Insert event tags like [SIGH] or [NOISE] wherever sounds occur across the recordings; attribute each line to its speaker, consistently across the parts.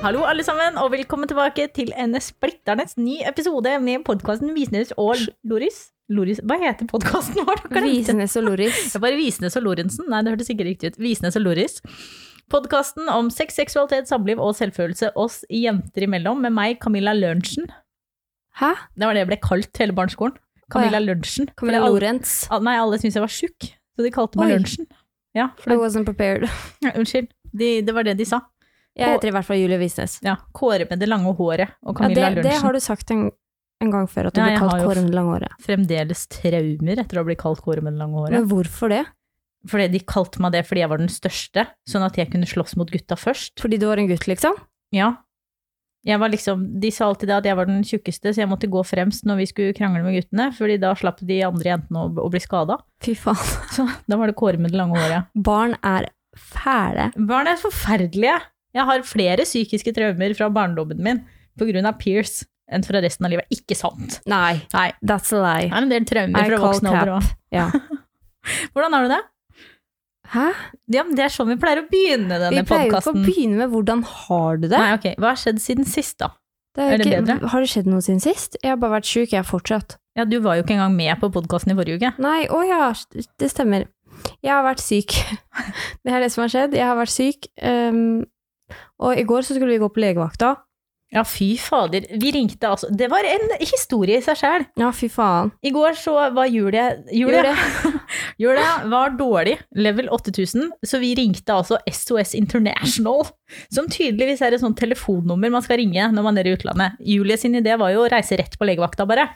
Speaker 1: Hallo, alle sammen, og velkommen tilbake til en splitternes ny episode med podkasten Visnes og Loris. Loris, Hva heter [LAUGHS] podkasten vår? Jeg glemte det.
Speaker 2: Visnes og Loris.
Speaker 1: Det var Visnes og Lorentzen. Nei, det hørtes ikke riktig ut. Visnes og Loris. Podkasten om sex, seksualitet, samliv og selvfølelse oss jenter imellom, med meg, Camilla Lørentzen.
Speaker 2: Hæ?
Speaker 1: Det var det jeg ble kalt hele barneskolen. Camilla
Speaker 2: Å,
Speaker 1: Lørentzen.
Speaker 2: Camilla
Speaker 1: Fordi alle-
Speaker 2: Lorentz.
Speaker 1: al- Nei, alle syntes jeg var tjukk, så de kalte meg
Speaker 2: Oi.
Speaker 1: Lørentzen. Ja, for
Speaker 2: I
Speaker 1: det,
Speaker 2: wasn't prepared.
Speaker 1: unnskyld. De, det var det de sa.
Speaker 2: Jeg heter i hvert fall Julie Visnes.
Speaker 1: Ja, Kåre med det lange håret og
Speaker 2: Ja,
Speaker 1: Camilla
Speaker 2: det,
Speaker 1: Lørentzen.
Speaker 2: det har du sagt en, en gang før, at du
Speaker 1: Ja,
Speaker 2: ble
Speaker 1: jeg har
Speaker 2: kalt
Speaker 1: jo-
Speaker 2: Kåre med det lange håret.
Speaker 1: fremdeles traumer etter å bli kalt Kåre med det lange håret.
Speaker 2: Men hvorfor det?
Speaker 1: Fordi de kalte meg det fordi jeg var den største, sånn at jeg kunne slåss mot gutta først.
Speaker 2: Fordi du var en gutt, liksom?
Speaker 1: Ja. Jeg var liksom, de sa alltid det at jeg var den tjukkeste, så jeg måtte gå fremst når vi skulle krangle med guttene, fordi da slapp de andre jentene å, å bli skada.
Speaker 2: Fy faen.
Speaker 1: Så da var det Kåre med det lange håret.
Speaker 2: Barn er fæle.
Speaker 1: Barn er forferdelige! Jeg har flere psykiske traumer fra barndommen min pga. Pierce enn fra resten av livet. Ikke sant!
Speaker 2: Nei.
Speaker 1: Nei.
Speaker 2: That's a
Speaker 1: Det
Speaker 2: lie.
Speaker 1: er en del traumer
Speaker 2: I
Speaker 1: fra
Speaker 2: call
Speaker 1: voksen alder
Speaker 2: crap.
Speaker 1: òg.
Speaker 2: Ja.
Speaker 1: Hvordan har du det?
Speaker 2: Hæ?
Speaker 1: Ja, men det er sånn vi pleier å begynne
Speaker 2: Vi
Speaker 1: denne
Speaker 2: pleier jo ikke å
Speaker 1: podkasten.
Speaker 2: begynne med 'hvordan har du det'?
Speaker 1: Nei, ok. Hva har skjedd siden sist, da?
Speaker 2: det er jo
Speaker 1: er det
Speaker 2: ikke,
Speaker 1: bedre?
Speaker 2: har det skjedd noe siden sist? Jeg har bare vært sjuk, jeg har fortsatt.
Speaker 1: Ja, du var jo ikke engang med på podkasten i forrige uke.
Speaker 2: Nei, å ja, det stemmer. Jeg har vært syk.
Speaker 1: [LAUGHS]
Speaker 2: Det er det som har skjedd. Jeg har vært syk. ehm, og i går så skulle vi gå på legevakta.
Speaker 1: Ja, fy fader. Vi ringte altså Det var en historie i seg sjæl.
Speaker 2: Ja, fy faen.
Speaker 1: I går så var Julie Julie, [LAUGHS] Julie var dårlig, level 8000, så vi ringte altså SOS International. Som tydeligvis er et sånt telefonnummer man skal ringe når man er i utlandet. Julie sin idé var jo å reise rett på legevakta, bare.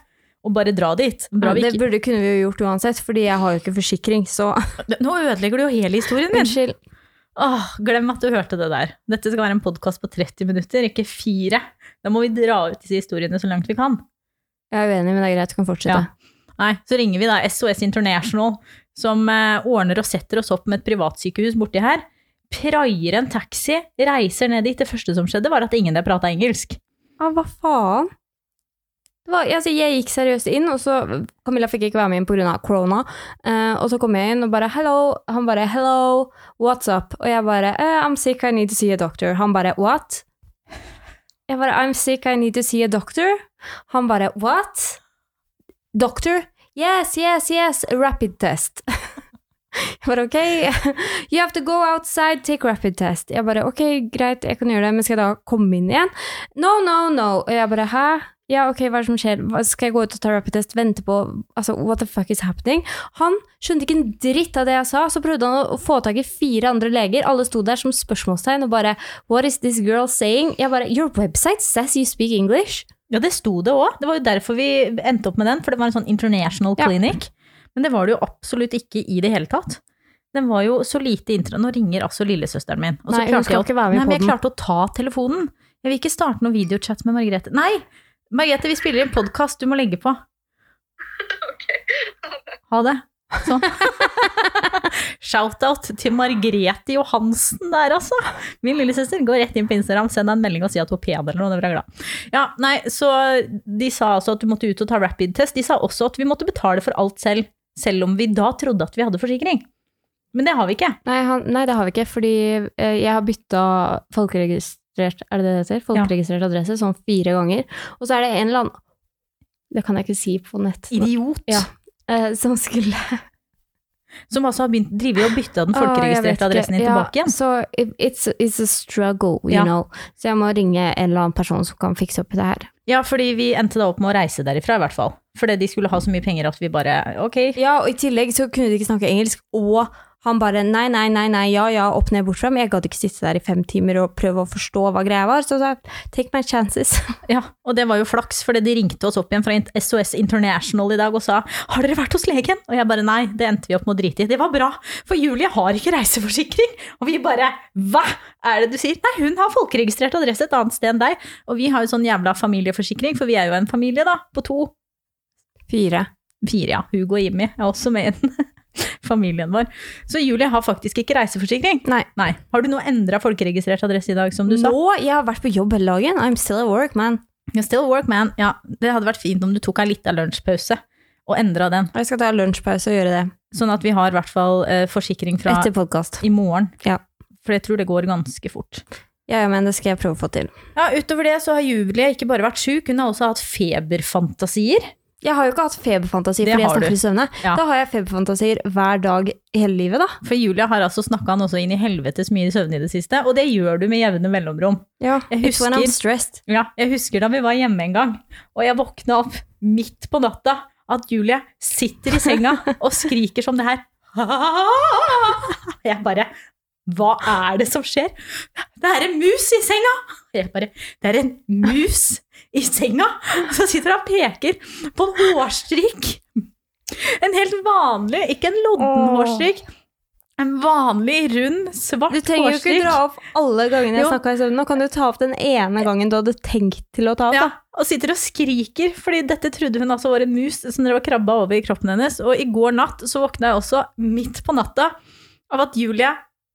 Speaker 1: Og bare dra dit. Bra
Speaker 2: Ja,
Speaker 1: vi
Speaker 2: det
Speaker 1: ikke
Speaker 2: burde kunne vi jo gjort uansett, fordi jeg har jo ikke forsikring, så
Speaker 1: Nå ødelegger du jo hele historien min.
Speaker 2: unnskyld.
Speaker 1: Åh, glem at du hørte det der. Dette skal være en podkast på 30 minutter, ikke fire. Da må vi dra ut disse historiene så langt vi kan.
Speaker 2: [LAUGHS] Jeg er uenig, men det er greit, du kan fortsette.
Speaker 1: Nei, så ringer vi da SOS International, som eh, ordner og setter oss opp med et privatsykehus borti her. Praier en taxi, reiser ned dit. Det første som skjedde, var at ingen der prata engelsk.
Speaker 2: Ja, hva faen? Det var, altså, jeg gikk seriøst inn, og så Camilla fikk ikke være med inn pga. corona. Eh, og så kom jeg inn og bare 'hello'. Han bare 'hello, what's up?' Og jeg bare eh, 'I'm sick, I need to see a doctor'. Han bare 'what?' Jeg bare 'I'm sick, I need to see a doctor'. Han bare 'what?' Doctor? Yes, yes, yes, rapid test. [LAUGHS] Jeg bare ok, [LAUGHS] you have to go outside, take rapid test. Jeg bare ok, greit, jeg kan gjøre det, men skal jeg da komme inn igjen? No, no, no. Og jeg bare, hæ? Ja, ok, hva er det som skjer? Hva- Skal jeg gå ut og ta rapid-test, vente på Altså, what the fuck is happening? Han skjønte ikke en dritt av det jeg sa, så prøvde han å få tak i fire andre leger. Alle sto der som spørsmålstegn og bare What is this girl saying? Jeg bare Your website says you speak English.
Speaker 1: Ja, det sto det òg. Det var jo derfor vi endte opp med den, for det var en sånn international
Speaker 2: Ja.
Speaker 1: clinic. Men det var det jo absolutt ikke i det hele tatt. Den var jo så lite intra... Nå ringer altså lillesøsteren min. Og så
Speaker 2: Nei, hun
Speaker 1: klarte jeg
Speaker 2: skal
Speaker 1: å-
Speaker 2: ikke være med
Speaker 1: Nei,
Speaker 2: på
Speaker 1: men jeg
Speaker 2: den.
Speaker 1: klarte å ta telefonen. Jeg vil ikke starte noen videochat med Margrethe. Nei! Margrethe, vi spiller inn podkast, du må legge [LAUGHS] på. Ha det. Sånn. [LAUGHS] Shout-out til Margrethe Johansen der, altså. Min lillesøster går rett inn på Instagram, send deg en melding og si at du er pen eller noe, det blir jeg glad. Ja, nei, så de sa altså at du måtte ut og ta rapid-test. De sa også at vi måtte betale for alt selv, selv om vi da trodde at vi hadde forsikring. Men det har vi ikke.
Speaker 2: Nei, han, nei det har vi ikke, fordi eh, jeg har bytta folkeregistrert Er det det det heter? Folkeregistrert adresse sånn fire ganger. Og så er det en eller annen Det kan jeg ikke si på nett.
Speaker 1: Idiot.
Speaker 2: Ja. eh, som skulle
Speaker 1: Som altså har begynt drive og bytte den folkeregistrerte
Speaker 2: Å, Ah, jeg vet
Speaker 1: adressen din
Speaker 2: ikke.
Speaker 1: tilbake igjen.
Speaker 2: Ja, så it- it's, it's a struggle, you
Speaker 1: Ja.
Speaker 2: know. Så jeg må ringe en eller annen person som kan fikse opp i det her.
Speaker 1: Ja, fordi vi endte da opp med å reise derifra, i hvert fall. Fordi de skulle ha så mye penger at vi bare Ok,
Speaker 2: Ja, og i tillegg så kunne de ikke snakke engelsk, og han bare nei, nei, nei, nei, ja, ja, opp ned bort fra, men jeg gadd ikke sitte der i fem timer og prøve å forstå hva greia var, så sa jeg take my chances.
Speaker 1: ja, og det var jo flaks, fordi de ringte oss opp igjen fra SOS International i dag og sa har dere vært hos legen? Og jeg bare nei, det endte vi opp med å drite i. Det var bra, for Julie har ikke reiseforsikring. Og vi bare hva er det du sier? Nei, hun har folkeregistrert adresse et annet sted enn deg. Og vi har jo sånn jævla familieforsikring, for vi er jo en familie da, på to
Speaker 2: [LAUGHS] Fire.
Speaker 1: Fire, ja. Hugo og Jimmy er også med i den [LAUGHS] familien vår. Så Julie har faktisk ikke reiseforsikring.
Speaker 2: Nei.
Speaker 1: Har du nå endra folkeregistrert adresse i dag, som du sa?
Speaker 2: Nå, jeg har vært på jobb hele dagen, I'm still at work, man.
Speaker 1: You still work, man. Ja, det hadde vært fint om du tok ei lita lunsjpause og endra den.
Speaker 2: Jeg skal ta lunsjpause og gjøre det
Speaker 1: Sånn at vi har i hvert fall eh, forsikring fra
Speaker 2: etter podkast.
Speaker 1: i morgen.
Speaker 2: Ja.
Speaker 1: For jeg tror det går ganske fort.
Speaker 2: Ja, ja, men det skal jeg prøve å få til.
Speaker 1: Ja, Utover det så har Julie ikke bare vært sjuk, hun har også hatt feberfantasier.
Speaker 2: Jeg har jo ikke hatt feberfantasi
Speaker 1: Det
Speaker 2: fordi jeg
Speaker 1: har
Speaker 2: snakker
Speaker 1: du.
Speaker 2: i søvne.
Speaker 1: Ja.
Speaker 2: Da har jeg feberfantasier hver dag hele livet, da.
Speaker 1: For Julie har altså snakka han også inn i helvetes mye søvn i det siste, og det gjør du med jevne mellomrom.
Speaker 2: Ja,
Speaker 1: Jeg
Speaker 2: It's when I'm
Speaker 1: husker-
Speaker 2: stressed.
Speaker 1: Ja, jeg husker da vi var hjemme en gang, og jeg våkna opp midt på natta at Julie sitter i
Speaker 2: [LAUGHS]
Speaker 1: senga og skriker som det her. Jeg bare Hva er det som skjer? Det er en mus i senga! Jeg bare Det er en mus i senga! Så sitter han og peker på en hårstrikk. En helt vanlig, ikke en lodden
Speaker 2: Åh.
Speaker 1: hårstrikk. En vanlig, rund, svart
Speaker 2: Du
Speaker 1: hårstrikk.
Speaker 2: trenger jo ikke dra opp alle gangene jeg
Speaker 1: Jo.
Speaker 2: snakka i søvne. Nå kan du ta opp den ene gangen du hadde tenkt til å ta opp.
Speaker 1: Ja, og sitter og skriker, fordi dette trodde hun altså var en mus som drev og krabba over i kroppen hennes. Og i går natt så våkna jeg også midt på natta av at Julie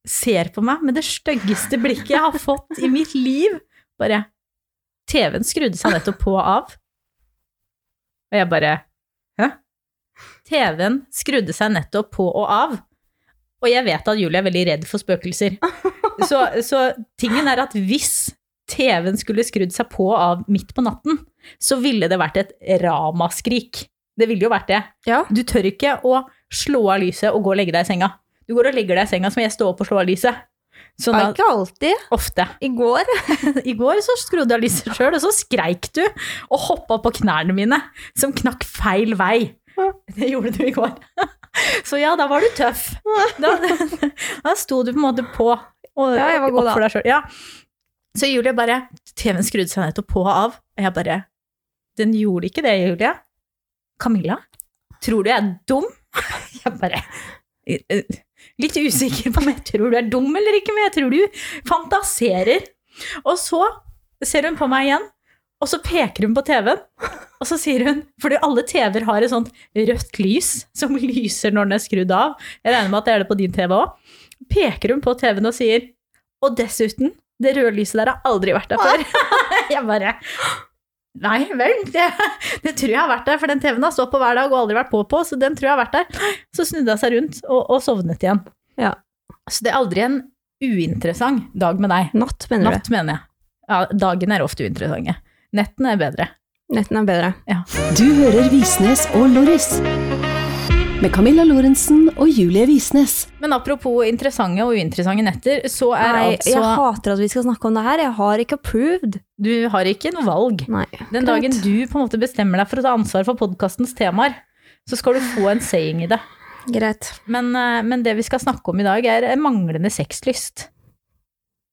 Speaker 1: ser på meg med det styggeste blikket jeg har fått i mitt liv. Bare TV-en skrudde seg nettopp på og av. Og jeg bare Hæ? TV-en skrudde seg nettopp på og av. Og jeg vet at Julie er veldig redd for spøkelser. Så, så tingen er at hvis TV-en skulle skrudd seg på og av midt på natten, så ville det vært et ramaskrik. Det ville jo vært det.
Speaker 2: Ja.
Speaker 1: Du tør ikke å slå av lyset og gå og legge deg i senga. Du går og legger deg i senga, så må jeg stå opp og slå av lyset. Sånn
Speaker 2: Ja,
Speaker 1: at,
Speaker 2: ikke alltid.
Speaker 1: ofte.
Speaker 2: I går.
Speaker 1: [LAUGHS] I går så skrudde jeg av lyset sjøl, og så skreik du og hoppa på knærne mine, som knakk feil vei. Det gjorde du i går. [LAUGHS] Så ja, da var du tøff. Da, [LAUGHS] da sto du på en måte på og
Speaker 2: Ja, jeg var god da.
Speaker 1: opp for deg sjøl. Ja. Så Julie bare TV-en skrudde seg nettopp på og av, og jeg bare Den gjorde ikke det, Julie. Camilla, tror du jeg er dum? [LAUGHS] Jeg bare eh, Litt usikker på om jeg tror du er dum eller ikke, men jeg tror du fantaserer. Og så ser hun på meg igjen, og så peker hun på TV-en. Og så sier hun Fordi alle TV-er har et sånt rødt lys som [LAUGHS] lyser når den er skrudd av. Jeg regner med at det er det på din TV òg. Peker hun på TV-en og sier Og dessuten, det røde lyset der har aldri vært der før. [LAUGHS] Jeg bare Nei vel, det, det tror jeg har vært der, for den TV-en har stått på hver dag og aldri vært på på, så den tror jeg har vært der. Så snudde hun seg rundt og, og sovnet igjen.
Speaker 2: Ja.
Speaker 1: Så det er aldri en uinteressant dag med deg.
Speaker 2: Natt, mener
Speaker 1: Natt, mener jeg. Ja, dagen er ofte uinteressante. Nettene er bedre.
Speaker 2: du. Netten er bedre.
Speaker 3: Du hører Visnes og Loris. Med Camilla Lorentzen og Julie Visnes.
Speaker 1: Men apropos interessante og uinteressante netter, så er
Speaker 2: Nei,
Speaker 1: altså
Speaker 2: jeg hater at vi skal snakke om det her. Jeg har ikke approved.
Speaker 1: Du har ikke noe valg.
Speaker 2: Nei.
Speaker 1: Den
Speaker 2: greit.
Speaker 1: dagen du på en måte bestemmer deg for å ta ansvar for podkastens temaer, så skal du få en saying i det.
Speaker 2: Greit.
Speaker 1: Men, eh, men det vi skal snakke om i dag, er manglende sexlyst.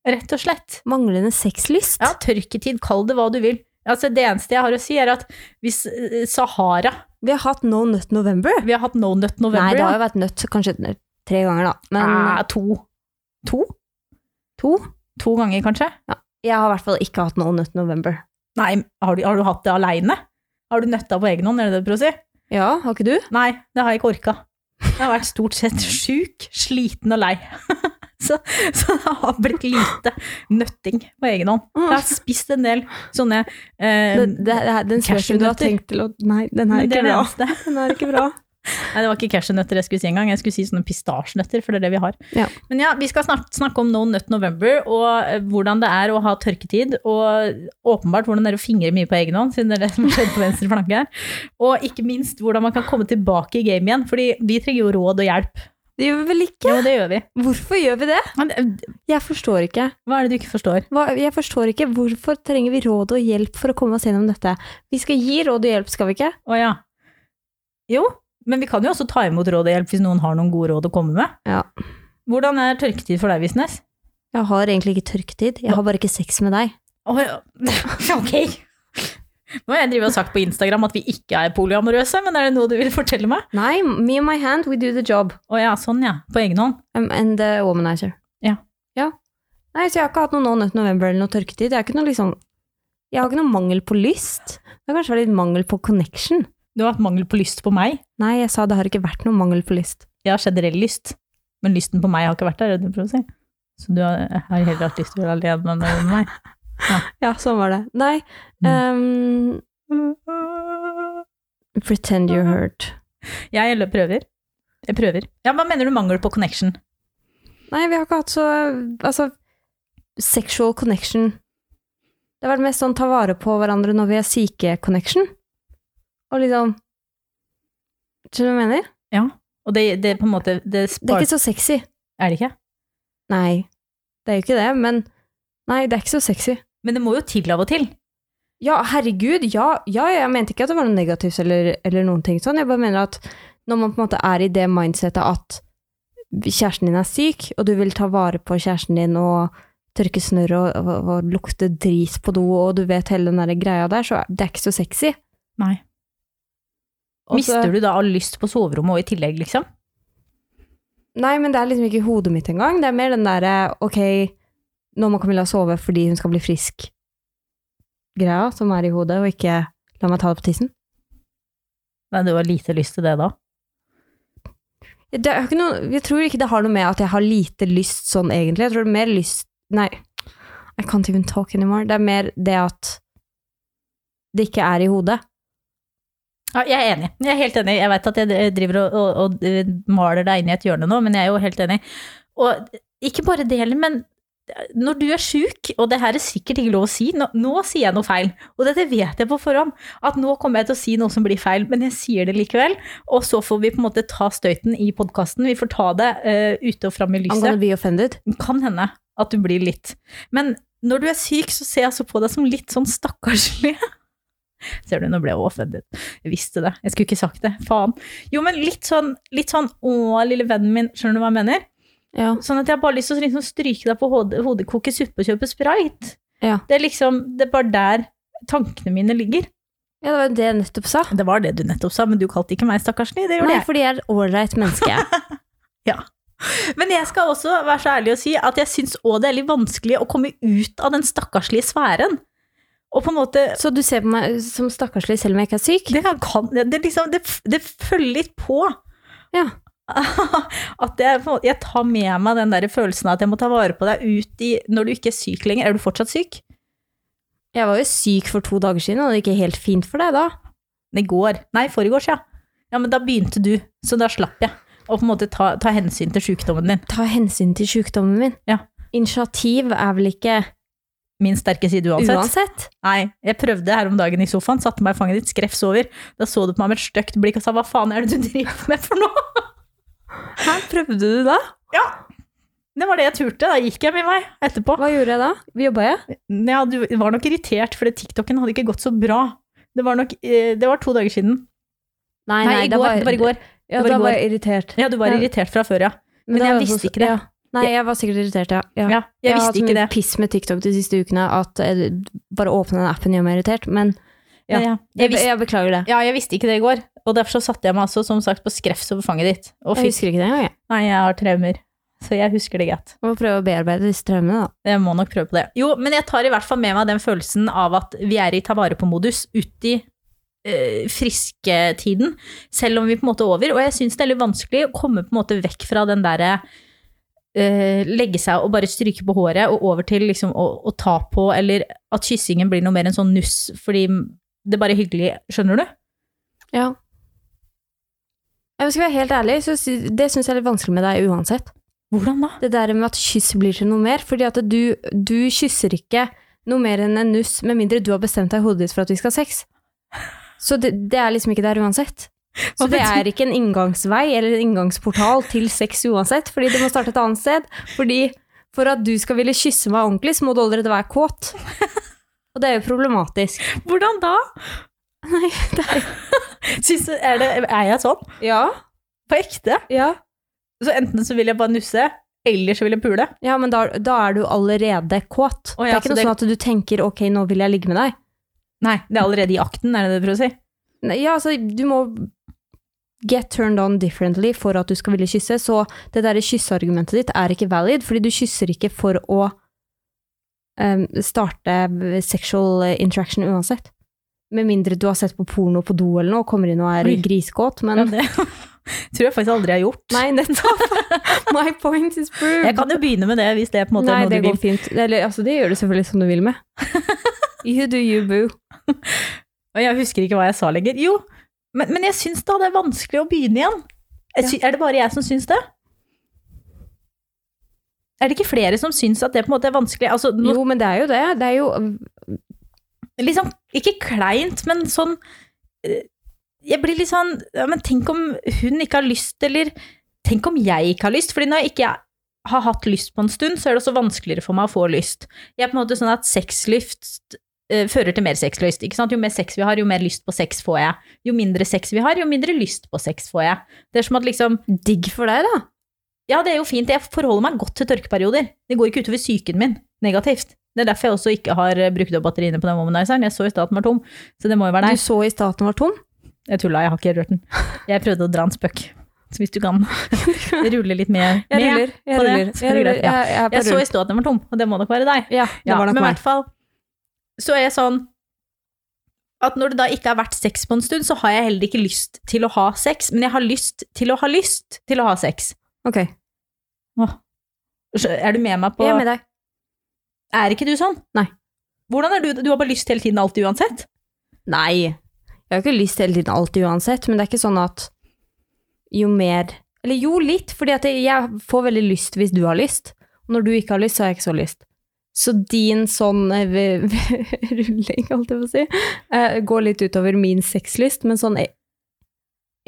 Speaker 1: Rett og slett.
Speaker 2: Manglende sexlyst?
Speaker 1: Ja, tørketid, kall det hva du vil. Altså, det eneste jeg har å si, er at hvis eh, Sahara
Speaker 2: Vi har hatt No Nut November.
Speaker 1: Vi har hatt No Nut
Speaker 2: Nei,
Speaker 1: November.
Speaker 2: det har
Speaker 1: ja.
Speaker 2: jo vært nøtt kanskje tre ganger, da. Men
Speaker 1: Eh, to. To?
Speaker 2: to?
Speaker 1: To ganger, kanskje?
Speaker 2: Jeg har i hvert fall ikke hatt No Nut November.
Speaker 1: Nei, har du, har du hatt det aleine? Har du nøtta på egen hånd, er det det du prøver å si?
Speaker 2: Ja, har ikke du?
Speaker 1: Nei, det har jeg ikke orka. Jeg har vært stort sett sjuk, sliten og lei. [LAUGHS] Så, så det har blitt lite nøtting på egen hånd. Jeg har spist en del sånne eh,
Speaker 2: Den, Mm. det, det,
Speaker 1: cashewnøtter.
Speaker 2: den spørsmålen du har tenkt til å Nei, den
Speaker 1: men det
Speaker 2: er ikke
Speaker 1: er det
Speaker 2: bra.
Speaker 1: eneste.
Speaker 2: [LAUGHS] Den er ikke bra.
Speaker 1: Nei, det var ikke cashewnøtter jeg skulle si engang. Jeg skulle si sånne pistasjenøtter, for det er det vi har.
Speaker 2: Ja.
Speaker 1: Men ja, vi skal snart snakke om No Nut November, og eh, hvordan det er å ha tørketid, og åpenbart hvordan det er å fingre mye på egen hånd, siden det er det som har skjedd på venstre flanke her. Og ikke minst hvordan man kan komme tilbake i game igjen, fordi vi trenger jo råd og hjelp
Speaker 2: Det gjør vi vel ikke?
Speaker 1: Jo, det gjør vi.
Speaker 2: Hvorfor gjør vi det?
Speaker 1: Men, eh,
Speaker 2: Jeg forstår ikke.
Speaker 1: Hva er det du ikke forstår?
Speaker 2: Hva, jeg forstår ikke. Hvorfor trenger vi råd og hjelp for å komme oss gjennom dette? Vi skal gi råd og hjelp, skal vi ikke?
Speaker 1: Å ja. Jo, men vi kan jo også ta imot råd og hjelp hvis noen har noen gode råd å komme med.
Speaker 2: Ja.
Speaker 1: Hvordan er tørketid for deg, Visnes?
Speaker 2: Jeg har egentlig ikke tørketid. Jeg har bare ikke sex med deg.
Speaker 1: Å ja. [LAUGHS] Ok. Nå har jeg drevet og sagt på Instagram at vi ikke er polyamorøse, men er det noe du vil fortelle meg?
Speaker 2: Nei, me and my hand, we do the job.
Speaker 1: Å ja, sånn ja. På egen hånd.
Speaker 2: Um, and the womanizer.
Speaker 1: Ja.
Speaker 2: Ja. Nei, så jeg har ikke hatt noe nå 9. november eller noe tørketid. Jeg har ikke noe liksom Jeg har ikke noe mangel på lyst. Det har kanskje vært litt mangel på connection.
Speaker 1: Du har hatt mangel på lyst på meg.
Speaker 2: Nei, jeg sa det har ikke vært noe mangel på lyst.
Speaker 1: Jeg har generell lyst, men lysten på meg har ikke vært der. er det det du prøver å si? Så du har jeg har heller hatt lyst til å være alene enn å være med meg.
Speaker 2: Ja, sånn var det. Nei um, Mm. Pretend you're hurt.
Speaker 1: Jeg eller prøver. Jeg prøver. Ja, Hva mener du mangel på connection?
Speaker 2: Nei, vi har ikke hatt så Altså, sexual connection. Det har vært mest sånn ta vare på hverandre når vi er syke connection. Og liksom Skjønner du hva jeg mener?
Speaker 1: Ja. Og det, det på en måte det
Speaker 2: Det er
Speaker 1: spar...
Speaker 2: ikke så sexy.
Speaker 1: er det ikke?
Speaker 2: Nei, det er jo ikke det, men Nei, det er ikke så sexy.
Speaker 1: Men det må jo til av og til.
Speaker 2: Ja, herregud, ja, ja, jeg mente ikke at det var noe negativt eller, eller noen ting sånn. Jeg bare mener at når man på en måte er i det mindsetet at kjæresten din er syk, og du vil ta vare på kjæresten din og tørke snørr og, og, og lukte dris på do, og du vet hele den der greia der, så er- det er ikke så sexy.
Speaker 1: Nei.
Speaker 2: Og så-
Speaker 1: Mister du da all lyst på soverommet og i tillegg, liksom?
Speaker 2: Nei, men det er liksom ikke i hodet mitt engang. Det er mer den derre ok, nå må Camilla sove fordi hun skal bli frisk. Greia som er i hodet, og ikke la meg ta det på tissen.
Speaker 1: Nei, du har lite lyst til det da.
Speaker 2: Det er jo ikke noe, jeg tror ikke det har noe med at jeg har lite lyst sånn egentlig. Jeg tror det er mer lyst Nei, I can't even talk anymore. Det er mer det at det ikke er i hodet.
Speaker 1: Ja, jeg er enig. Jeg er helt enig. Jeg vet at jeg driver og, og, og maler deg inn i et hjørne nå, men jeg er jo helt enig. Og ikke bare det heller, men eh, når du er sjuk, og det her er sikkert ikke lov å si, nå, nå sier jeg noe feil, og dette vet jeg på forhånd, at nå kommer jeg til å si noe som blir feil, men jeg sier det likevel, og så får vi på en måte ta støyten i podkasten, vi får ta det eh, ute og fram i lyset.
Speaker 2: Angående be offended.
Speaker 1: kan hende at du blir litt. Men når du er syk, så ser jeg altså på deg som litt sånn stakkarslig. [LAUGHS] Ser du, nå ble jeg offended. Jeg visste det. Jeg skulle ikke sagt det. Faen. Jo, men litt sånn, litt sånn Å, lille vennen min. Skjønner du hva jeg mener?
Speaker 2: Ja.
Speaker 1: Sånn at jeg har bare lyst til å liksom stryke deg på hodet, hodet koke suppe og kjøpe sprite.
Speaker 2: Ja.
Speaker 1: Det er liksom Det er bare der tankene mine ligger.
Speaker 2: ja, det var jo det jeg nettopp sa.
Speaker 1: Det var det du nettopp sa, men du kalte ikke meg stakkarslig. Det gjorde
Speaker 2: Nei,
Speaker 1: jeg.
Speaker 2: fordi jeg er et ålreit
Speaker 1: [LAUGHS]
Speaker 2: menneske.
Speaker 1: Men jeg skal også være så ærlig å si at jeg syns òg det er litt vanskelig å komme ut av den stakkarslige sfæren. Og på en måte
Speaker 2: Så du ser på meg som stakkarslig selv om jeg ikke er syk?
Speaker 1: Det, kan, det, det liksom, det, det følger litt på.
Speaker 2: Ja.
Speaker 1: [LAUGHS] At jeg, på en måte- jeg tar med meg den der følelsen av at jeg må ta vare på deg ut i Når du ikke er syk lenger. Er du fortsatt syk?
Speaker 2: Jeg var jo syk for to dager siden, og det gikk helt fint for deg da.
Speaker 1: I går. Nei, forgårs, ja. Ja, men da begynte du, så da slapp jeg. Å på en måte ta, ta hensyn til sykdommen din.
Speaker 2: Ta hensyn til sykdommen min.
Speaker 1: Ja.
Speaker 2: Initiativ er vel ikke
Speaker 1: Min sterke side uansett.
Speaker 2: uansett.
Speaker 1: Nei, jeg prøvde her om dagen i sofaen, satte meg i fanget ditt, skrevs over. Da så du på meg med et stygt blikk og sa hva faen er det du driver med for noe? [LAUGHS]
Speaker 2: Hæ, prøvde du da?
Speaker 1: Det var det jeg turte, da gikk jeg min vei etterpå.
Speaker 2: Hva gjorde jeg da? Jobba jeg?
Speaker 1: Ja, du var nok irritert, for TikToken hadde ikke gått så bra. Det var, nok, eh, det var to dager siden. Nei, i går. det var i går. Det
Speaker 2: Ja,
Speaker 1: var i
Speaker 2: da var
Speaker 1: går.
Speaker 2: jeg irritert.
Speaker 1: Ja, du var
Speaker 2: Ja.
Speaker 1: irritert fra før, ja. Men
Speaker 2: da
Speaker 1: jeg
Speaker 2: var
Speaker 1: visste
Speaker 2: også-
Speaker 1: ikke det.
Speaker 2: Ja. Nei, jeg var sikkert irritert, ja. ja.
Speaker 1: ja jeg,
Speaker 2: har hatt
Speaker 1: visste
Speaker 2: så
Speaker 1: ikke
Speaker 2: mye
Speaker 1: det.
Speaker 2: piss med TikTok de siste ukene at eh, bare åpne den appen gjør meg irritert, men ja.
Speaker 1: Men ja, jeg
Speaker 2: jeg,
Speaker 1: visste,
Speaker 2: jeg beklager det.
Speaker 1: ja, jeg visste ikke det i går. Og derfor så satte jeg meg altså, som sagt, på skrevs over fanget ditt. Og
Speaker 2: Jeg
Speaker 1: fikk
Speaker 2: husker ikke det engang, jeg.
Speaker 1: Nei, jeg har traumer. Så jeg husker det greit.
Speaker 2: Jeg må prøve å bearbeide disse traumene, da.
Speaker 1: Jeg må nok prøve på det. Jo, men jeg tar i hvert fall med meg den følelsen av at vi er i ta vare på-modus ut i eh, frisketiden, selv om vi på en måte er over. Og jeg syns det er litt vanskelig å komme på en måte vekk fra den derre eh, legge seg og bare stryke på håret, og over til liksom å, å ta på, eller at kyssingen blir noe mer en sånn nuss fordi det er bare hyggelig, skjønner du?
Speaker 2: Ja. Jeg skal være helt ærlig, så sy- det syns jeg er litt vanskelig med deg uansett.
Speaker 1: Hvordan da?
Speaker 2: Det der med at kyss blir til noe mer, fordi at du, du kysser ikke noe mer enn en nuss, med mindre du har bestemt deg i hodet ditt for at vi skal ha sex. Så det, det er liksom ikke der uansett. Så det er ikke en inngangsvei eller en inngangsportal til sex uansett, fordi det må starte et annet sted. Fordi for at du skal ville kysse meg ordentlig, så må du allerede være kåt. Og det er jo problematisk.
Speaker 1: [LAUGHS] Hvordan da?
Speaker 2: Nei, det er
Speaker 1: Synes, du- er, det, er jeg sånn?
Speaker 2: Ja,
Speaker 1: På ekte?
Speaker 2: ja.
Speaker 1: Så enten så vil jeg bare nusse, eller så vil jeg pule.
Speaker 2: Ja, men da, da er du allerede kåt.
Speaker 1: Å ja,
Speaker 2: det er ikke
Speaker 1: så
Speaker 2: noe
Speaker 1: det-
Speaker 2: sånn at du tenker 'ok, nå vil jeg ligge med deg'.
Speaker 1: Nei, det er allerede i akten, er det det du prøver å si?
Speaker 2: Nei, ja, altså, du må get turned on differently for at du skal ville kysse, så det derre kysseargumentet ditt er ikke valid, fordi du kysser ikke for å em, starte sexual interaction uansett. Med mindre du har sett på porno på do eller noe, og kommer inn og er
Speaker 1: Oi.
Speaker 2: grisekåt,
Speaker 1: Ja,
Speaker 2: men
Speaker 1: det [LAUGHS] tror jeg faktisk aldri jeg har gjort.
Speaker 2: [LAUGHS] Nei,
Speaker 1: [LAUGHS]
Speaker 2: nettopp! My point is proved.
Speaker 1: Jeg kan jo begynne med det hvis det er på en måte
Speaker 2: Nei,
Speaker 1: noe
Speaker 2: det
Speaker 1: du vil.
Speaker 2: går fint. Eller, altså, det gjør du selvfølgelig som du vil
Speaker 1: [LAUGHS]
Speaker 2: med. You do you, boo.
Speaker 1: Og jeg husker ikke hva jeg sa lenger. Jo, men, men jeg syns da det er vanskelig å begynne igjen. Jeg sy Er det bare jeg som syns det? Er det ikke flere som syns at det på en måte er vanskelig? Altså, nå,
Speaker 2: Jo, men det er jo det. Det er jo
Speaker 1: liksom, ikke kleint, men sånn eh, Jeg blir litt sånn ja, Men tenk om hun ikke har lyst, eller Tenk om jeg ikke har lyst? Fordi når jeg ikke har hatt lyst på en stund, så er det også vanskeligere for meg å få lyst. Jeg er på en måte sånn at sexlyst eh, fører til mer sexlyst. Ikke sant? Jo mer sex vi har, jo mer lyst på sex får jeg. Jo mindre sex vi har, jo mindre lyst på sex får jeg. Det er som at liksom
Speaker 2: digg for deg, da.
Speaker 1: Ja, det er jo fint. Jeg forholder meg godt til tørkeperioder. Det går ikke utover psyken min negativt. Det er derfor jeg også ikke har eh, brukt opp batteriene på den womanizeren. Jeg så i stad at den var tom, så det må jo være
Speaker 2: Du
Speaker 1: deg.
Speaker 2: så i stad at den var tom.
Speaker 1: Jeg tulla, jeg har ikke rørt den. Jeg prøvde å dra en spøk. Så hvis du kan rulle litt med,
Speaker 2: [LAUGHS] Jeg
Speaker 1: med
Speaker 2: ruller. Jeg
Speaker 1: på det,
Speaker 2: ruller.
Speaker 1: så er det
Speaker 2: Jeg, ruller.
Speaker 1: greit, ja.
Speaker 2: jeg, jeg er på
Speaker 1: Jeg så
Speaker 2: rull.
Speaker 1: i stad at den var tom, og det må nok være deg.
Speaker 2: Ja, det
Speaker 1: Ja,
Speaker 2: var nok
Speaker 1: men i
Speaker 2: meg.
Speaker 1: hvert fall så er jeg sånn at når det da ikke har vært sex på en stund, så har jeg heller ikke lyst til å ha sex, men jeg har lyst til å ha lyst til å ha sex.
Speaker 2: Ok,
Speaker 1: Åh. Så Er du med meg på
Speaker 2: jeg er med deg.
Speaker 1: Er ikke du sånn?
Speaker 2: Nei.
Speaker 1: Hvordan er du? Du har bare lyst hele tiden, alltid, uansett?
Speaker 2: Nei. Jeg har ikke lyst hele tiden alltid uansett, men det er ikke sånn at jo mer Eller jo, litt, fordi at jeg- jeg får veldig lyst hvis du har lyst. Og når du ikke har lyst, så har jeg ikke så lyst. Så din sånn eh, [LAUGHS] v- v- rulling, holdt jeg på å si, eh, går litt utover min sexlyst, men sånn e-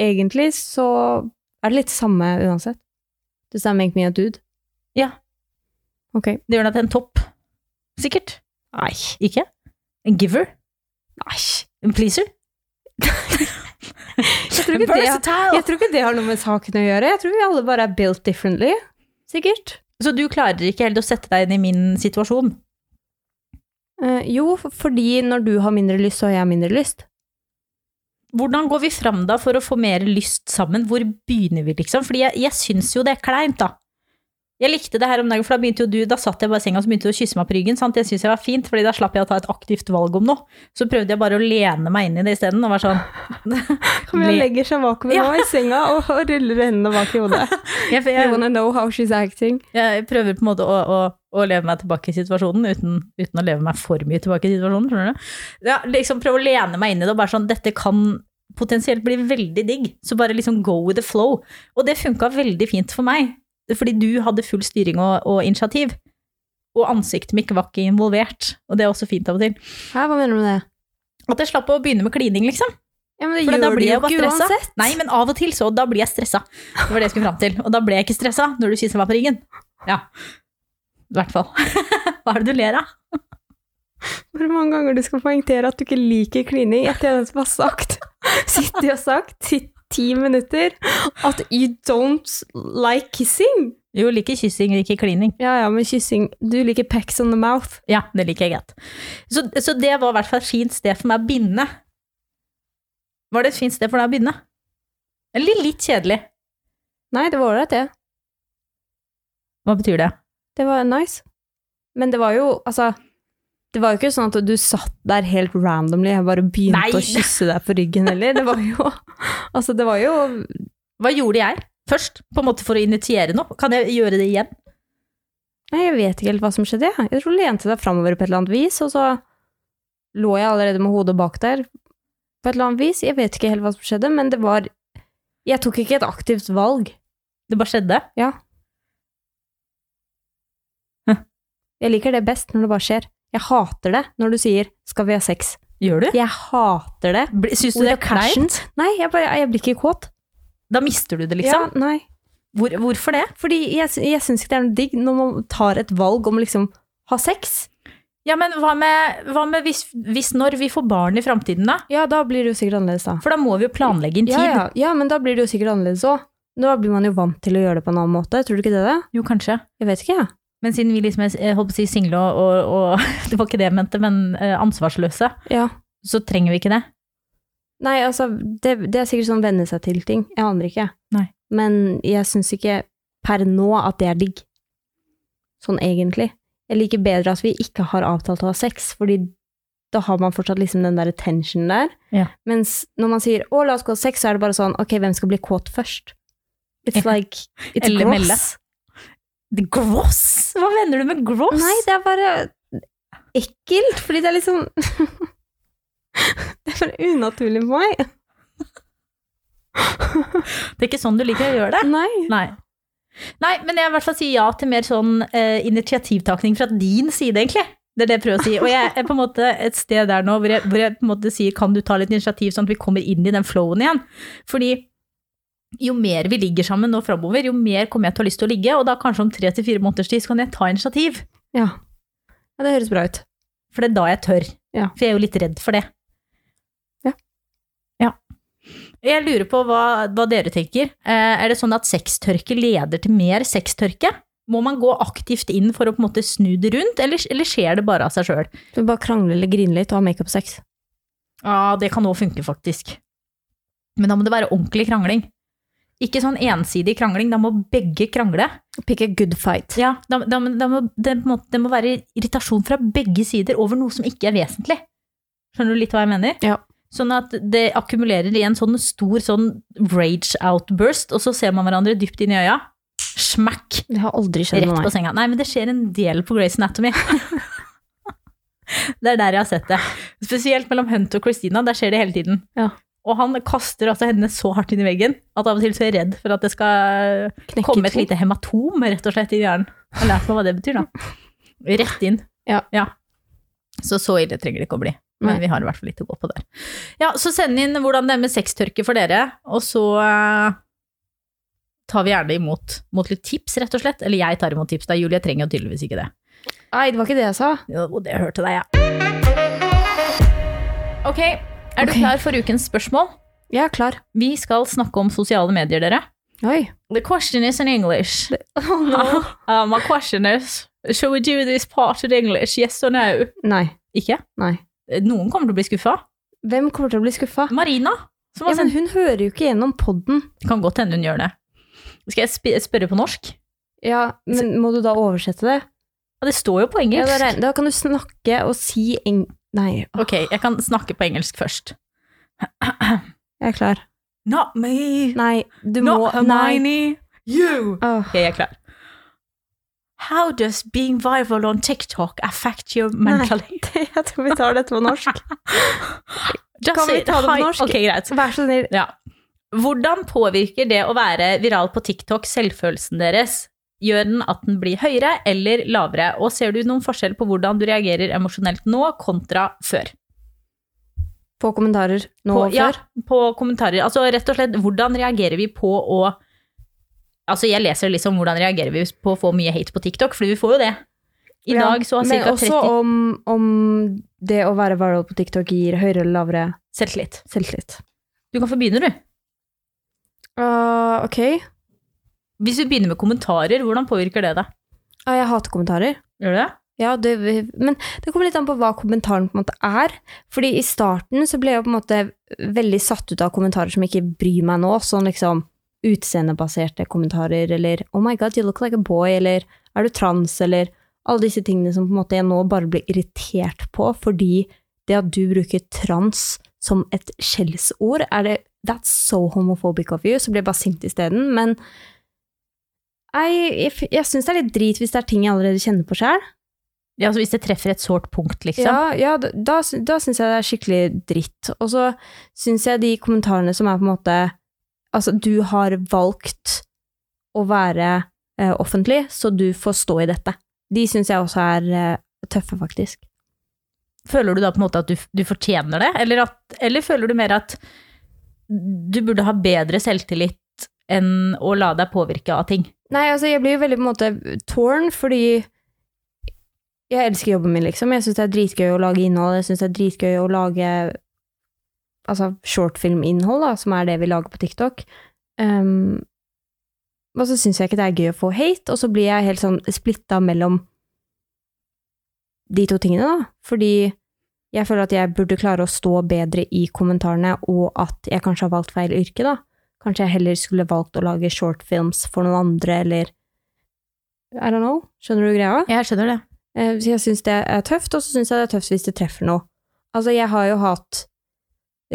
Speaker 2: egentlig så er det litt samme uansett. Does that make me a dude?
Speaker 1: Ja.
Speaker 2: Ok.
Speaker 1: Det gjør deg til en topp. Sikkert.
Speaker 2: Nei.
Speaker 1: Ikke? En giver?
Speaker 2: Nei.
Speaker 1: En pleaser?
Speaker 2: Jeg tror ikke det
Speaker 1: Versatile!
Speaker 2: Jeg tror ikke det har noe med saken å gjøre. Jeg tror vi alle bare er built differently. Sikkert.
Speaker 1: Så du klarer ikke helt å sette deg inn i min situasjon?
Speaker 2: Eh, jo, f- fordi når du har mindre lyst, så har jeg mindre lyst.
Speaker 1: Hvordan går vi fram da for å få mer lyst sammen? Hvor begynner vi, liksom? Fordi jeg, jeg syns jo det er kleint, da. Jeg likte det her om dagen, for da begynte jo du, da satt jeg bare i senga og begynte du å kysse meg på ryggen. sant? Jeg syntes jeg var fint, fordi da slapp jeg å ta et aktivt valg om noe. Så prøvde jeg bare å lene meg inn i det isteden og være sånn
Speaker 2: Camilla legger seg bakover nå i senga og, og ruller hendene bak i hodet.
Speaker 1: Jeg,
Speaker 2: [LAUGHS] You
Speaker 1: jeg,
Speaker 2: wanna know how she's acting?
Speaker 1: jeg prøver på en måte å, å, å leve meg tilbake i situasjonen, uten, uten å leve meg for mye tilbake i situasjonen, skjønner du? Ja, liksom prøve å lene meg inn i det og bare sånn, dette kan potensielt bli veldig digg, så bare liksom go with the flow. Og det funka veldig fint for meg, fordi du hadde full styring og, og initiativ. Og ansiktet mitt var ikke involvert, og det er også fint av og til.
Speaker 2: Hæ, hva mener du med det?
Speaker 1: At jeg slapp å begynne med klining, liksom.
Speaker 2: Ja, men det
Speaker 1: For da
Speaker 2: gjør du
Speaker 1: blir jeg
Speaker 2: jo
Speaker 1: jo bare
Speaker 2: ikke
Speaker 1: stressa.
Speaker 2: uansett.
Speaker 1: Nei, men av og til så, da blir jeg stressa. Det var det jeg skulle fram til. Og da ble jeg ikke stressa når du kysser meg på ryggen. Ja. I hvert fall. [LAUGHS] Hva er det du ler av?
Speaker 2: Hvor mange ganger du skal poengtere at du ikke liker klining etter jeg nettopp har [LAUGHS] sagt Sittet og sagt i ti minutter at you don't like kissing.
Speaker 1: Jo, liker kyssing, liker klining.
Speaker 2: Ja, ja, men kyssing Du liker pecks on the mouth.
Speaker 1: Ja, det liker jeg greit. Så, så det var i hvert fall et fint sted for meg å begynne. Var det et fint sted for deg å begynne? Eller litt kjedelig?
Speaker 2: Nei, det var ålreit, det.
Speaker 1: Hva betyr det?
Speaker 2: Det var nice. Men det var jo, altså Det var jo ikke sånn at du satt der helt randomly og bare begynte
Speaker 1: Nei.
Speaker 2: å kysse deg på ryggen heller. Det var jo Altså, det var jo
Speaker 1: Hva gjorde jeg først, på en måte for å initiere noe? Kan jeg gjøre det igjen?
Speaker 2: Nei, jeg vet ikke helt hva som skjedde, jeg. Jeg tror du lente deg framover på et eller annet vis, og så lå jeg allerede med hodet bak der på et eller annet vis. Jeg vet ikke helt hva som skjedde, men det var Jeg tok ikke et aktivt valg.
Speaker 1: Det bare skjedde.
Speaker 2: Jeg liker det best når det bare skjer. Jeg hater det når du sier 'skal vi ha sex'.
Speaker 1: Gjør du?
Speaker 2: Jeg hater det.
Speaker 1: Bli- Syns du
Speaker 2: With
Speaker 1: det
Speaker 2: a
Speaker 1: er kleint?
Speaker 2: passion. Nei, jeg, bare, jeg blir ikke kåt.
Speaker 1: Da mister du det, liksom.
Speaker 2: Ja, nei.
Speaker 1: Hvor, hvorfor det?
Speaker 2: Fordi jeg, sy- jeg syns ikke det er noe digg når man tar et valg om liksom ha sex.
Speaker 1: Ja, men hva med, hva med hvis, hvis når vi får barn i framtiden, da?
Speaker 2: Ja, da blir det jo sikkert annerledes, da.
Speaker 1: For da må vi jo planlegge en tid.
Speaker 2: Ja, ja. ja, men da blir det jo sikkert annerledes òg. Da blir man jo vant til å gjøre det på en annen måte. Tror du ikke det? det?
Speaker 1: Jo, kanskje.
Speaker 2: Jeg vet ikke, jeg.
Speaker 1: Men siden vi liksom er eh, holdt på å si single og, og, og [LAUGHS] Det var ikke det jeg mente, men eh, ansvarsløse,
Speaker 2: Ja.
Speaker 1: så trenger vi ikke det.
Speaker 2: Nei, altså, det, det er sikkert sånn venne seg til ting. Jeg aner ikke.
Speaker 1: Nei.
Speaker 2: Men jeg syns ikke per nå at det er digg. Sånn egentlig. Jeg liker bedre at vi ikke har avtalt å ha sex, fordi da har man fortsatt liksom den der tensionen der.
Speaker 1: Ja.
Speaker 2: Mens når man sier 'å, la oss gå og ha sex', så er det bare sånn 'ok, hvem skal bli kåt først'? It's like It's
Speaker 1: Eller
Speaker 2: gross.
Speaker 1: melde. Det- Gross! Hva mener du med gross?
Speaker 2: Nei, det er bare ekkelt, fordi det er liksom [LAUGHS] Det er bare unaturlig for meg.
Speaker 1: det er ikke sånn du liker å gjøre det.
Speaker 2: Nei.
Speaker 1: Nei. Nei, men jeg vil i hvert fall si ja til mer sånn eh, initiativtakning fra din side, egentlig. Det er det jeg prøver å si. Og jeg er på en måte et sted der nå hvor jeg, hvor jeg på en måte sier kan du ta litt initiativ, sånn at vi kommer inn i den flowen igjen. Fordi jo mer vi ligger sammen nå framover, jo mer kommer jeg til å ha lyst til å ligge, og da kanskje om tre til fire måneders tid så kan jeg ta initiativ.
Speaker 2: Ja. ja. Det høres bra ut.
Speaker 1: For det er da jeg tør.
Speaker 2: Ja.
Speaker 1: For jeg er jo litt redd for det.
Speaker 2: Ja.
Speaker 1: Ja. Jeg lurer på hva, hva dere tenker. Eh, er det sånn at sextørke leder til mer sextørke? Må man gå aktivt inn for å på en måte snu det rundt, eller, eller skjer det bare av seg sjøl?
Speaker 2: Du bare krangle eller grine litt og ha makeup-sex.
Speaker 1: Ja, det kan òg funke, faktisk. Men da må det være ordentlig krangling. Ikke sånn ensidig krangling, da må begge krangle.
Speaker 2: Pick a good fight.
Speaker 1: Ja, da, da, da må, det, på en måte, det må være irritasjon fra begge sider over noe som ikke er vesentlig. Skjønner du litt hva jeg mener?
Speaker 2: Ja.
Speaker 1: Sånn at det akkumulerer i en sånn stor sånn rage outburst, og så ser man hverandre dypt inn i øya. Smack!
Speaker 2: Det har aldri skjedd
Speaker 1: Rett
Speaker 2: med
Speaker 1: på
Speaker 2: meg.
Speaker 1: senga. Nei, men det skjer en del på Grey's
Speaker 2: [LAUGHS]
Speaker 1: Anatomy. det er der jeg har sett det. Spesielt mellom Hunt og Christina, der skjer det hele tiden.
Speaker 2: Ja.
Speaker 1: Og han kaster altså henne så hardt inn i veggen at av og til så er jeg redd for at det skal
Speaker 2: Knekke
Speaker 1: komme et
Speaker 2: to.
Speaker 1: lite hematom rett og slett i hjernen. Jeg har lært meg hva det betyr, da. Rett inn.
Speaker 2: Ja.
Speaker 1: Så så ille trenger det ikke å bli. Men
Speaker 2: Nei.
Speaker 1: vi har i hvert fall litt å gå på der. Ja, så send inn hvordan det er med sextørke for dere, og så eh, tar vi gjerne imot mot litt tips, rett og slett. Eller jeg tar imot tips, da. Julie trenger jo tydeligvis ikke det.
Speaker 2: Nei, det var ikke det jeg sa.
Speaker 1: Jo, det hørte deg, jeg. Ok, er du
Speaker 2: Ok.
Speaker 1: klar for ukens spørsmål?
Speaker 2: Jeg er klar.
Speaker 1: Vi skal snakke om sosiale medier, dere.
Speaker 2: Oi.
Speaker 1: [LAUGHS] The question is in English.
Speaker 2: Å, nå.
Speaker 1: Uh, my question is, shall we do this part in English, yes or no?
Speaker 2: Nei.
Speaker 1: Ikke?
Speaker 2: Nei.
Speaker 1: Noen kommer til å bli skuffa.
Speaker 2: Hvem kommer til å bli skuffa?
Speaker 1: Marina, som har
Speaker 2: Ja, men
Speaker 1: sendt
Speaker 2: hun hører jo ikke gjennom podden.
Speaker 1: Kan godt hende hun gjør det. Skal jeg sp spørre på norsk?
Speaker 2: Ja, men må du da oversette det?
Speaker 1: Ja, det står jo på
Speaker 2: Ja,
Speaker 1: engelsk.
Speaker 2: da, regner- da kan du snakke og si eng... Nei,
Speaker 1: Ok, jeg kan snakke på engelsk først.
Speaker 2: jeg er klar.
Speaker 1: Not me,
Speaker 2: Nei, du må Nei.
Speaker 1: you!
Speaker 2: Åh.
Speaker 1: Ok, jeg er klar. How does being viral on TikTok affect your
Speaker 2: Nei, [LAUGHS] det- jeg tror vi tar dette på norsk.
Speaker 1: Does
Speaker 2: Kan vi
Speaker 1: it
Speaker 2: ta det på
Speaker 1: hi-
Speaker 2: norsk?
Speaker 1: Ok, greit.
Speaker 2: [LAUGHS] Vær så snill.
Speaker 1: Ja. Hvordan påvirker det å være viral på TikTok selvfølelsen deres? Gjør den at den blir høyere eller lavere? Og ser du noen forskjell på hvordan du reagerer emosjonelt nå kontra før?
Speaker 2: Få kommentarer nå
Speaker 1: På,
Speaker 2: og
Speaker 1: ja,
Speaker 2: før.
Speaker 1: på kommentarer. Altså rett og slett, hvordan reagerer vi på å Altså, jeg leser liksom hvordan reagerer vi på å få mye hate på TikTok, for vi får jo det. I
Speaker 2: Ja,
Speaker 1: dag så har
Speaker 2: Men
Speaker 1: ca.
Speaker 2: også
Speaker 1: 30
Speaker 2: om, om det å være viral på TikTok gir høyere eller lavere
Speaker 1: Selvtillit.
Speaker 2: selvtillit.
Speaker 1: Du kan få begynne, du.
Speaker 2: Uh, ok.
Speaker 1: Hvis vi begynner med kommentarer, hvordan påvirker det deg?
Speaker 2: Ja, Ah, jeg hater kommentarer.
Speaker 1: Gjør du det?
Speaker 2: Ja, det, men det kommer litt an på hva kommentaren på en måte er. Fordi i starten så ble jeg på en måte veldig satt ut av kommentarer som ikke bryr meg nå. Sånn liksom utseendebaserte kommentarer, eller 'oh my god, you look like a boy', eller 'er du trans', eller alle disse tingene som på en måte jeg nå bare blir irritert på, fordi det at du bruker trans som et skjellsord, er det That's so homophobic of you. Så blir jeg bare sint isteden. Men jeg, jeg, jeg syns det er litt drit hvis det er ting jeg allerede kjenner på sjøl.
Speaker 1: Ja, altså hvis det treffer et sårt punkt, liksom.
Speaker 2: Ja, ja da, da, sy- da syns jeg det er skikkelig dritt. Og så syns jeg de kommentarene som er på en måte Altså, du har valgt å være eh, offentlig, så du får stå i dette. De syns jeg også er eh, tøffe, faktisk.
Speaker 1: føler du da på en måte at du, du fortjener det? Eller, at, eller føler du mer at du burde ha bedre selvtillit enn å la deg påvirke av ting?
Speaker 2: Nei, altså jeg blir jo veldig på en måte torn, fordi jeg elsker jobben min, liksom. Jeg syns det er dritgøy å lage innhold. Jeg syns det er dritgøy å lage altså shortfilminnhold, da, som er det vi lager på TikTok. Um, og så syns jeg ikke det er gøy å få hate, og så blir jeg helt sånn splitta mellom de to tingene, da. Fordi jeg føler at jeg burde klare å stå bedre i kommentarene, og at jeg kanskje har valgt feil yrke, da. Kanskje jeg heller skulle valgt å lage shortfilms for noen andre, eller I don't know. Skjønner du greia?
Speaker 1: Jeg skjønner det.
Speaker 2: Eh, Så jeg syns det er tøft, og så syns jeg det er tøft hvis det treffer noe. Altså, jeg har jo hatt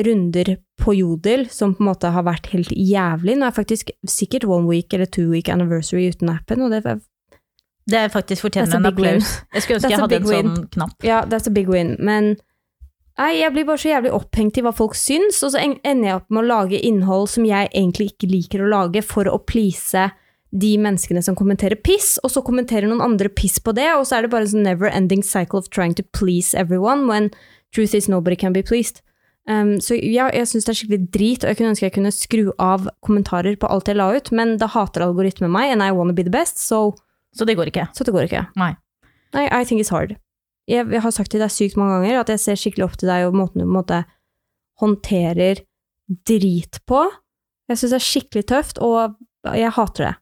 Speaker 2: runder på Jodel som på en måte har vært helt jævlig. Nå er faktisk sikkert one week eller two week anniversary uten appen, og det er
Speaker 1: Det er faktisk
Speaker 2: That's
Speaker 1: fortjener
Speaker 2: a
Speaker 1: en
Speaker 2: big win.
Speaker 1: applaus. Jeg skulle ønske
Speaker 2: That's
Speaker 1: jeg
Speaker 2: a
Speaker 1: hadde
Speaker 2: big
Speaker 1: en sånn knapp.
Speaker 2: Ja, that's a big win, men Nei, jeg blir bare så jævlig opphengt i hva folk syns, og så en- ender jeg opp med å lage innhold som jeg egentlig ikke liker å lage, for å please de menneskene som kommenterer piss, og så kommenterer noen andre piss på det, og så er det bare en sånn never ending cycle of trying to please everyone, when truth is nobody can be pleased. Um, så ja, jeg syns det er skikkelig drit, og jeg kunne ønske jeg kunne skru av kommentarer på alt jeg la ut, men da hater algoritmen meg, and I wanna be the best, so
Speaker 1: Så det går ikke.
Speaker 2: så det går ikke.
Speaker 1: Nei.
Speaker 2: Nei, I think it's hard. Jeg, jeg har sagt til deg sykt mange ganger at jeg ser skikkelig opp til deg og måten du på en måte håndterer drit på. Jeg syns det er skikkelig tøft, og jeg hater det.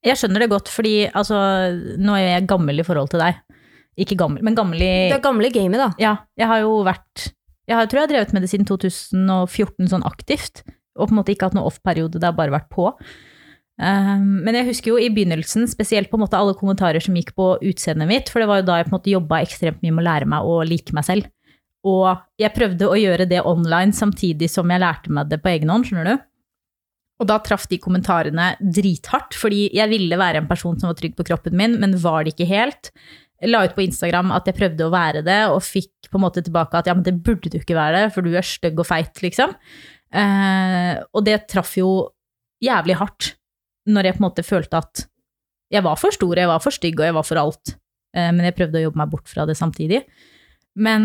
Speaker 1: Jeg skjønner det godt, fordi altså, nå er jo jeg gammel i forhold til deg. Ikke gammel, men gammel i
Speaker 2: Det er gamle gamet, da.
Speaker 1: Ja, jeg har jo vært Jeg har, tror jeg har drevet med det siden 2014 sånn aktivt. Og på en måte ikke hatt noen off-periode, det har bare vært på. Ehm, men jeg husker jo i begynnelsen, spesielt på en måte alle kommentarer som gikk på utseendet mitt, for det var jo da jeg på en måte jobba ekstremt mye med å lære meg å like meg selv. Og jeg prøvde å gjøre det online samtidig som jeg lærte meg det på egen hånd, skjønner du. Og da traff de kommentarene drithardt, fordi jeg ville være en person som var trygg på kroppen min, men var det ikke helt. Jeg la ut på Instagram at jeg prøvde å være det, og fikk på en måte tilbake at ja, men det burde du ikke være, for du er stygg og feit, liksom. Eh, og det traff jo jævlig hardt, når jeg på en måte følte at jeg var for stor, jeg var for stygg, og jeg var for alt. Eh, men jeg prøvde å jobbe meg bort fra det samtidig. Men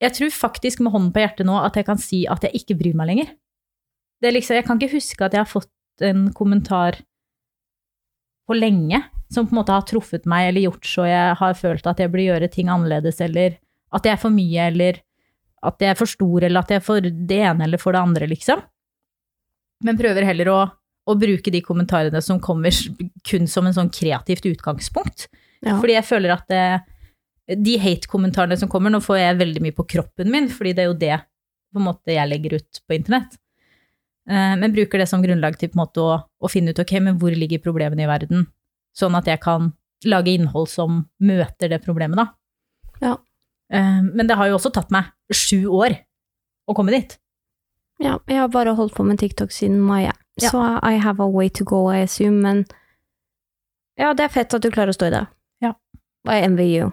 Speaker 1: jeg tror faktisk med hånden på hjertet nå at jeg kan si at jeg ikke bryr meg lenger. Det er liksom, jeg kan ikke huske at jeg har fått en kommentar på lenge som på en måte har truffet meg eller gjort så jeg har følt at jeg burde gjøre ting annerledes, eller at jeg er for mye, eller at jeg er for stor, eller at jeg er for det ene eller for det andre, liksom. Men prøver heller å, å bruke de kommentarene som kommer s- kun som en sånn kreativt utgangspunkt.
Speaker 2: Ja.
Speaker 1: Fordi jeg føler at det, de hate-kommentarene som kommer, nå får jeg veldig mye på kroppen min, fordi det er jo det på en måte jeg legger ut på internett. Eh, Men bruker det som grunnlag til på en måte å, å finne ut ok, men hvor ligger problemene i verden, sånn at jeg kan lage innhold som møter det problemet, da.
Speaker 2: Ja.
Speaker 1: Eh, Men det har jo også tatt meg sju år å komme dit.
Speaker 2: Ja, jeg har bare holdt på med TikTok siden mai, jeg.
Speaker 1: Ja.
Speaker 2: så I have a way to go, I assume, men ja, det er fett at du klarer å stå i det.
Speaker 1: Ja.
Speaker 2: Og jeg envy you.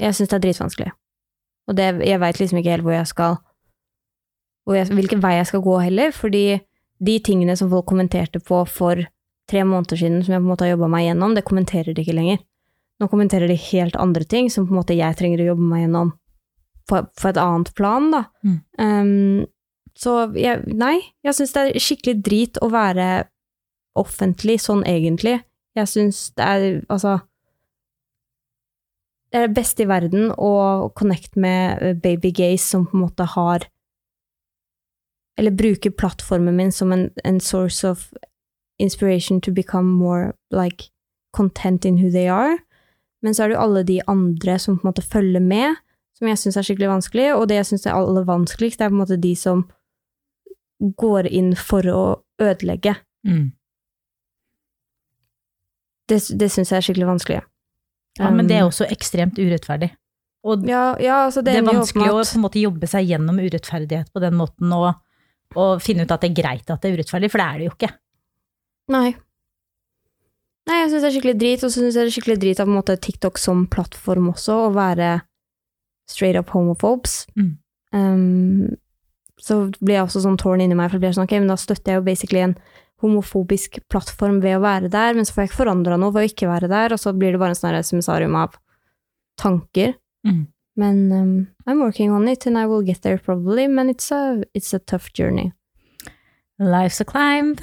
Speaker 2: Jeg syns det er dritvanskelig. Og det, jeg veit liksom ikke helt hvor jeg skal hvor jeg, Hvilken vei jeg skal gå heller, fordi de tingene som folk kommenterte på for tre måneder siden, som jeg på en måte har jobba meg gjennom, det kommenterer de ikke lenger. Nå kommenterer de helt andre ting, som på en måte jeg trenger å jobbe meg gjennom på, på et annet plan, da.
Speaker 1: Mm.
Speaker 2: Um, så jeg, nei, jeg syns det er skikkelig drit å være offentlig sånn egentlig. Jeg syns det er altså Det er det beste i verden å connecte med eh, baby gays som på en måte har Eller bruker plattformen min som en, en source of inspiration to become more like content in who they are. Men så er det jo alle de andre som på en måte følger med, som jeg syns er skikkelig vanskelig, og det jeg syns er aller vanskeligst, det er på en måte de som går inn for å ødelegge. Det, det syns jeg er skikkelig vanskelig.
Speaker 1: Ja, men det er også ekstremt urettferdig. Og
Speaker 2: Um, Ja, ja, altså det,
Speaker 1: det, er
Speaker 2: ender jo opp med
Speaker 1: vanskelig å
Speaker 2: at-
Speaker 1: på en måte jobbe seg gjennom urettferdighet på den måten, og, og finne ut at det er greit at det er urettferdig, for det er det jo ikke.
Speaker 2: Nei. Nei, jeg syns det er skikkelig drit, og så syns jeg det er skikkelig drit av på en måte TikTok som plattform også, å være straight up homophobes.
Speaker 1: Mm.
Speaker 2: Um, så blir jeg også sånn tårn inni meg, for det blir sånn, ok, men da støtter jeg jo basically en homofobisk plattform ved å være der, men så får jeg ikke forandra noe ved å ikke være der, og så blir det bare en sånn her semisarium av tanker.
Speaker 1: Mm.
Speaker 2: Men um, I'm working on it, and I will get there probably, men it's a, it's a tough journey.
Speaker 1: Life's a climb.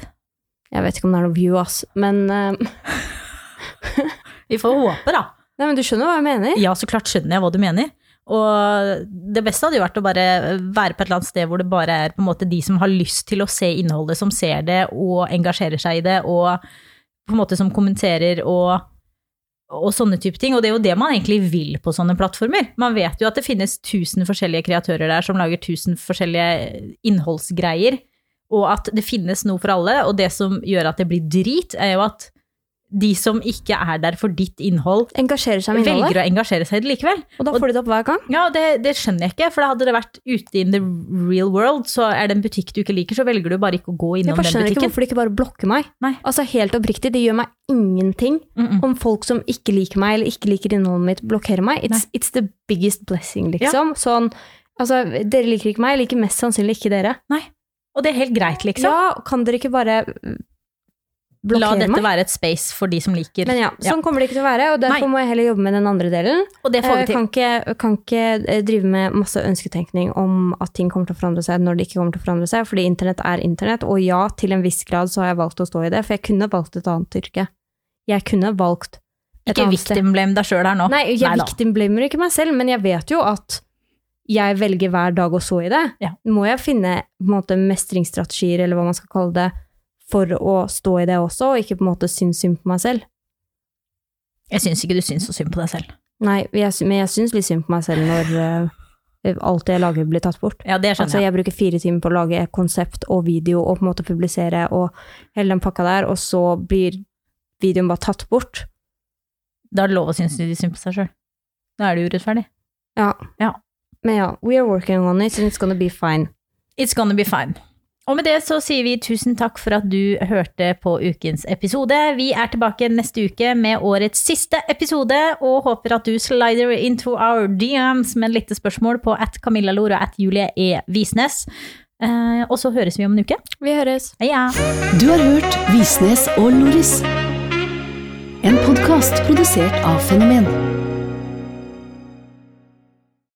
Speaker 2: Jeg vet ikke om det er noe view, ass, men um,
Speaker 1: Vi får håpe, da.
Speaker 2: Nei, men du skjønner hva jeg mener?
Speaker 1: Ja, så klart skjønner jeg hva du mener. Og det beste hadde jo vært å bare være på et eller annet sted hvor det bare er på en måte de som har lyst til å se innholdet, som ser det og engasjerer seg i det, og på en måte som kommenterer og, og sånne type ting. Og det er jo det man egentlig vil på sånne plattformer. Man vet jo at det finnes tusen forskjellige kreatører der som lager tusen forskjellige innholdsgreier, og at det finnes noe for alle. Og det som gjør at det blir drit, er jo at de som ikke er der for ditt innhold,
Speaker 2: Engasjerer seg med innholdet,
Speaker 1: velger å engasjere seg i det likevel.
Speaker 2: og da får du det opp hver gang.
Speaker 1: Ja, og det, det skjønner jeg ikke, for da hadde det vært ute in the real world, så er det en butikk du ikke liker, så velger du bare ikke å gå
Speaker 2: Jeg
Speaker 1: innom
Speaker 2: bare
Speaker 1: den
Speaker 2: skjønner ikke
Speaker 1: butikken.
Speaker 2: hvorfor de ikke bare blokker meg.
Speaker 1: Nei.
Speaker 2: Altså Helt oppriktig, det gjør meg ingenting
Speaker 1: Mm -mm.
Speaker 2: om folk som ikke liker meg eller ikke liker innholdet mitt, blokkerer meg. It's, it's the biggest blessing, liksom. Sånn, altså, dere liker ikke meg, jeg liker mest sannsynlig ikke dere.
Speaker 1: Og det er helt greit, liksom.
Speaker 2: Ja, kan dere ikke bare mm,
Speaker 1: La
Speaker 2: blokkere
Speaker 1: dette
Speaker 2: meg?
Speaker 1: være et space for de som liker.
Speaker 2: Men ja, sånn kommer det ikke til å være, og derfor må jeg heller jobbe med den andre delen.
Speaker 1: Og det får vi
Speaker 2: Jeg
Speaker 1: til.
Speaker 2: Eh, kan ikke, kan ikke eh, drive med masse ønsketenkning om at ting kommer til å forandre seg når det ikke kommer til å forandre seg, fordi internett er internett, og ja, til en viss grad så har jeg valgt å stå i det, for jeg kunne valgt et annet yrke. Jeg kunne valgt et
Speaker 1: Ikke
Speaker 2: annet sted.
Speaker 1: victim blame deg sjøl her nå.
Speaker 2: Nei, jeg
Speaker 1: Neida.
Speaker 2: victim blamer ikke meg selv, men jeg vet jo at jeg velger hver dag å så i det.
Speaker 1: Ja.
Speaker 2: Må jeg finne på en måte, mestringsstrategier, eller hva man skal kalle det, for å stå i det også, og ikke på en måte synes synd på meg selv.
Speaker 1: Jeg syns ikke du syns så synd på deg selv.
Speaker 2: Nei, jeg, sy- men jeg syns litt synd på meg selv når eh, alt det jeg lager, blir tatt bort.
Speaker 1: Ja, det skjønner
Speaker 2: Altså,
Speaker 1: jeg.
Speaker 2: jeg bruker fire timer på å lage konsept og video og på en måte publisere og hele den pakka der, og så blir videoen bare tatt bort.
Speaker 1: Da er det lov å synes de synd på seg sjøl. Da er det urettferdig.
Speaker 2: Men ja, we are working on it, and it's gonna be fine.
Speaker 1: It's gonna be fine. Og med det så sier vi tusen takk for at du hørte på ukens episode. Vi er tilbake neste uke med årets siste episode, og håper at du slider into our DMs med litt spørsmål på at Camilla Lor og at Julie E. Visnes. Eh, og så høres vi om en uke.
Speaker 2: Vi høres.
Speaker 1: Heia!
Speaker 3: Du har hørt Visnes og Loris. En podkast produsert av Fenomen.